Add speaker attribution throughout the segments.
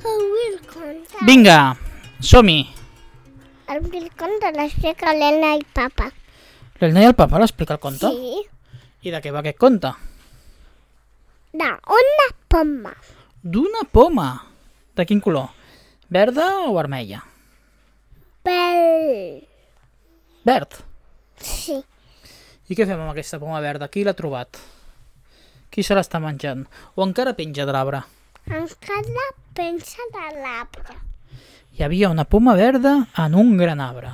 Speaker 1: Avui el conte.
Speaker 2: Vinga, som-hi.
Speaker 1: El conte l'explica l'Elena i papa.
Speaker 2: L'Elena i el papa l'explica el conte?
Speaker 1: Sí.
Speaker 2: I de què va aquest conte?
Speaker 1: No, una poma.
Speaker 2: D'una poma. De quin color? Verda o vermella?
Speaker 1: Pel...
Speaker 2: Verd.
Speaker 1: Sí.
Speaker 2: I què fem amb aquesta poma verda? Qui l'ha trobat? Qui se l'està menjant? O encara penja de l'arbre?
Speaker 1: Encara pensa de l'arbre.
Speaker 2: Hi havia una poma verda en un gran arbre.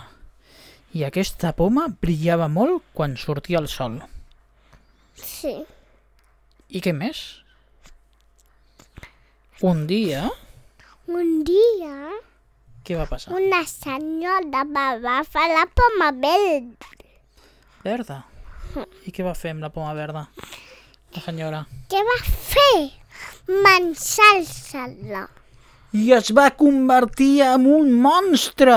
Speaker 2: I aquesta poma brillava molt quan sortia el sol.
Speaker 1: Sí.
Speaker 2: I què més? Un dia,
Speaker 1: Un dia,
Speaker 2: què va passar?
Speaker 1: una senyora va agafar la poma verda
Speaker 2: Verda. I què va fer amb la poma verda? La senyora.
Speaker 1: Què va fer? Menjar-se-la.
Speaker 2: I es va convertir en un monstre!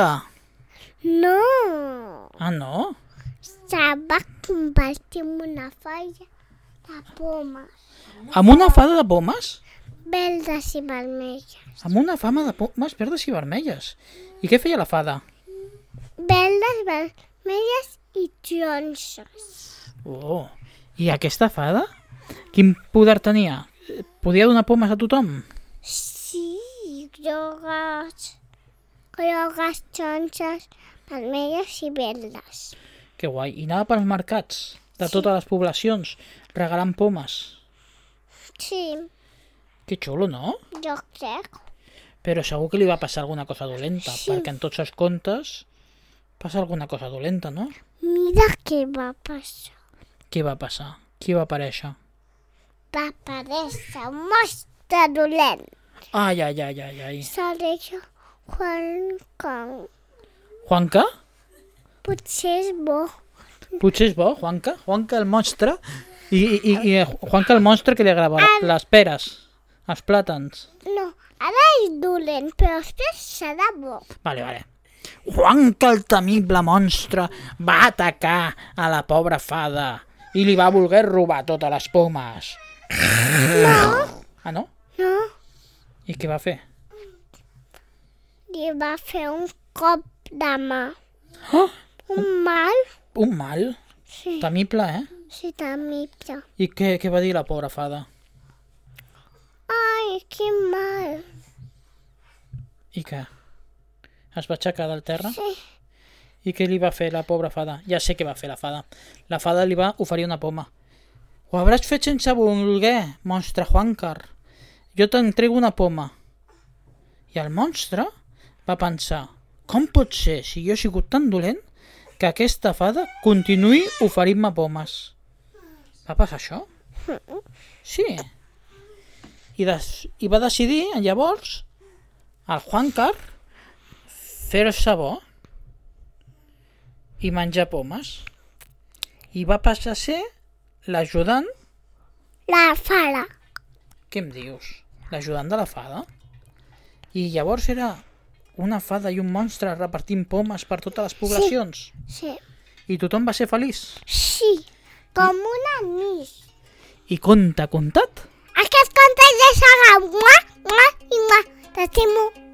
Speaker 1: No.
Speaker 2: Ah, no?
Speaker 1: Se va convertir en una falla de pomes
Speaker 2: Amb una fada de pomes?
Speaker 1: verdes i vermelles.
Speaker 2: Amb una fama de pomes verdes i vermelles. I què feia la fada?
Speaker 1: Verdes, vermelles i tronxes.
Speaker 2: Oh, i aquesta fada? Quin poder tenia? Podia donar pomes a tothom?
Speaker 1: Sí, grogues, grogues, tronxes, vermelles i verdes.
Speaker 2: Que guai. I anava pels mercats de totes les poblacions regalant pomes.
Speaker 1: Sí,
Speaker 2: Que xulo, no?
Speaker 1: jo crec.
Speaker 2: Però segur que li va passar alguna cosa dolenta,
Speaker 1: Sí.
Speaker 2: perquè en tots els contes passa alguna cosa dolenta, no?
Speaker 1: Mira què va passar.
Speaker 2: Què va passar? Qui va aparèixer?
Speaker 1: Va aparèixer un mostre dolent.
Speaker 2: Ai, ai, ai, ai, ai.
Speaker 1: Seré jo, Juan Kong.
Speaker 2: Juanca?
Speaker 1: Potser és bo.
Speaker 2: Potser és bo, Juanca? Juanca el monstre? I, i, i, i Juanca el monstre que li agrava les peres, els plàtans.
Speaker 1: No, ara és dolent, però després serà bo.
Speaker 2: Vale, vale. Juanca el temible monstre va atacar a la pobra fada i li va voler robar totes les pomes. No. Ah, no?
Speaker 1: No?
Speaker 2: I què va fer?
Speaker 1: Li va fer un cop de mà.
Speaker 2: Oh,
Speaker 1: Un mal?
Speaker 2: un mal.
Speaker 1: Sí,
Speaker 2: Temible, eh?
Speaker 1: sí, temible.
Speaker 2: I què, què va dir la pobra fada?
Speaker 1: Ai, quin mal.
Speaker 2: I què? Es va aixecar del terra?
Speaker 1: Sí,
Speaker 2: I què li va fer la pobra fada? Ja sé què va fer la fada. La fada li va oferir una poma. Ho hauràs fet sense voler, monstre Juancar. Jo t'entrego una poma. I el monstre va pensar, com pot ser, si jo he sigut tan dolent, que aquesta fada continuï oferint-me pomes? Va passar això? Sí. I, des... I va decidir, llavors, el Juancar fer-se bo i menjar pomes. I va passar a ser l'ajudant,
Speaker 1: la fala.
Speaker 2: què em dius? L'ajudant de la fada. I llavors era una fada i un monstre repartint pomes per totes les poblacions.
Speaker 1: Sí.
Speaker 2: I tothom va ser feliç.
Speaker 1: Sí, com una anís.
Speaker 2: I conte contat,
Speaker 1: Tá Aquest conte ja serà mua, mua i mua. T'estimo.